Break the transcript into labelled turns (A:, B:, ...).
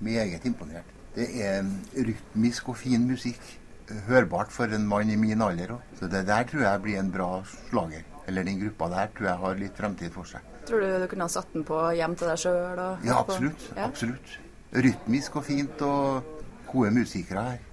A: meget imponert. Det er rytmisk og fin musikk. eh, Hørbart for en mann i min alder òg. Så det der tror jeg blir en bra slager. Eller den gruppa der tror jeg har litt fremtid for seg.
B: Tror du du kunne ha satt den på hjem til deg sjøl?
A: Ja, absolutt.
B: Ja.
A: Absolutt. Rytmisk og fint og gode musikere her.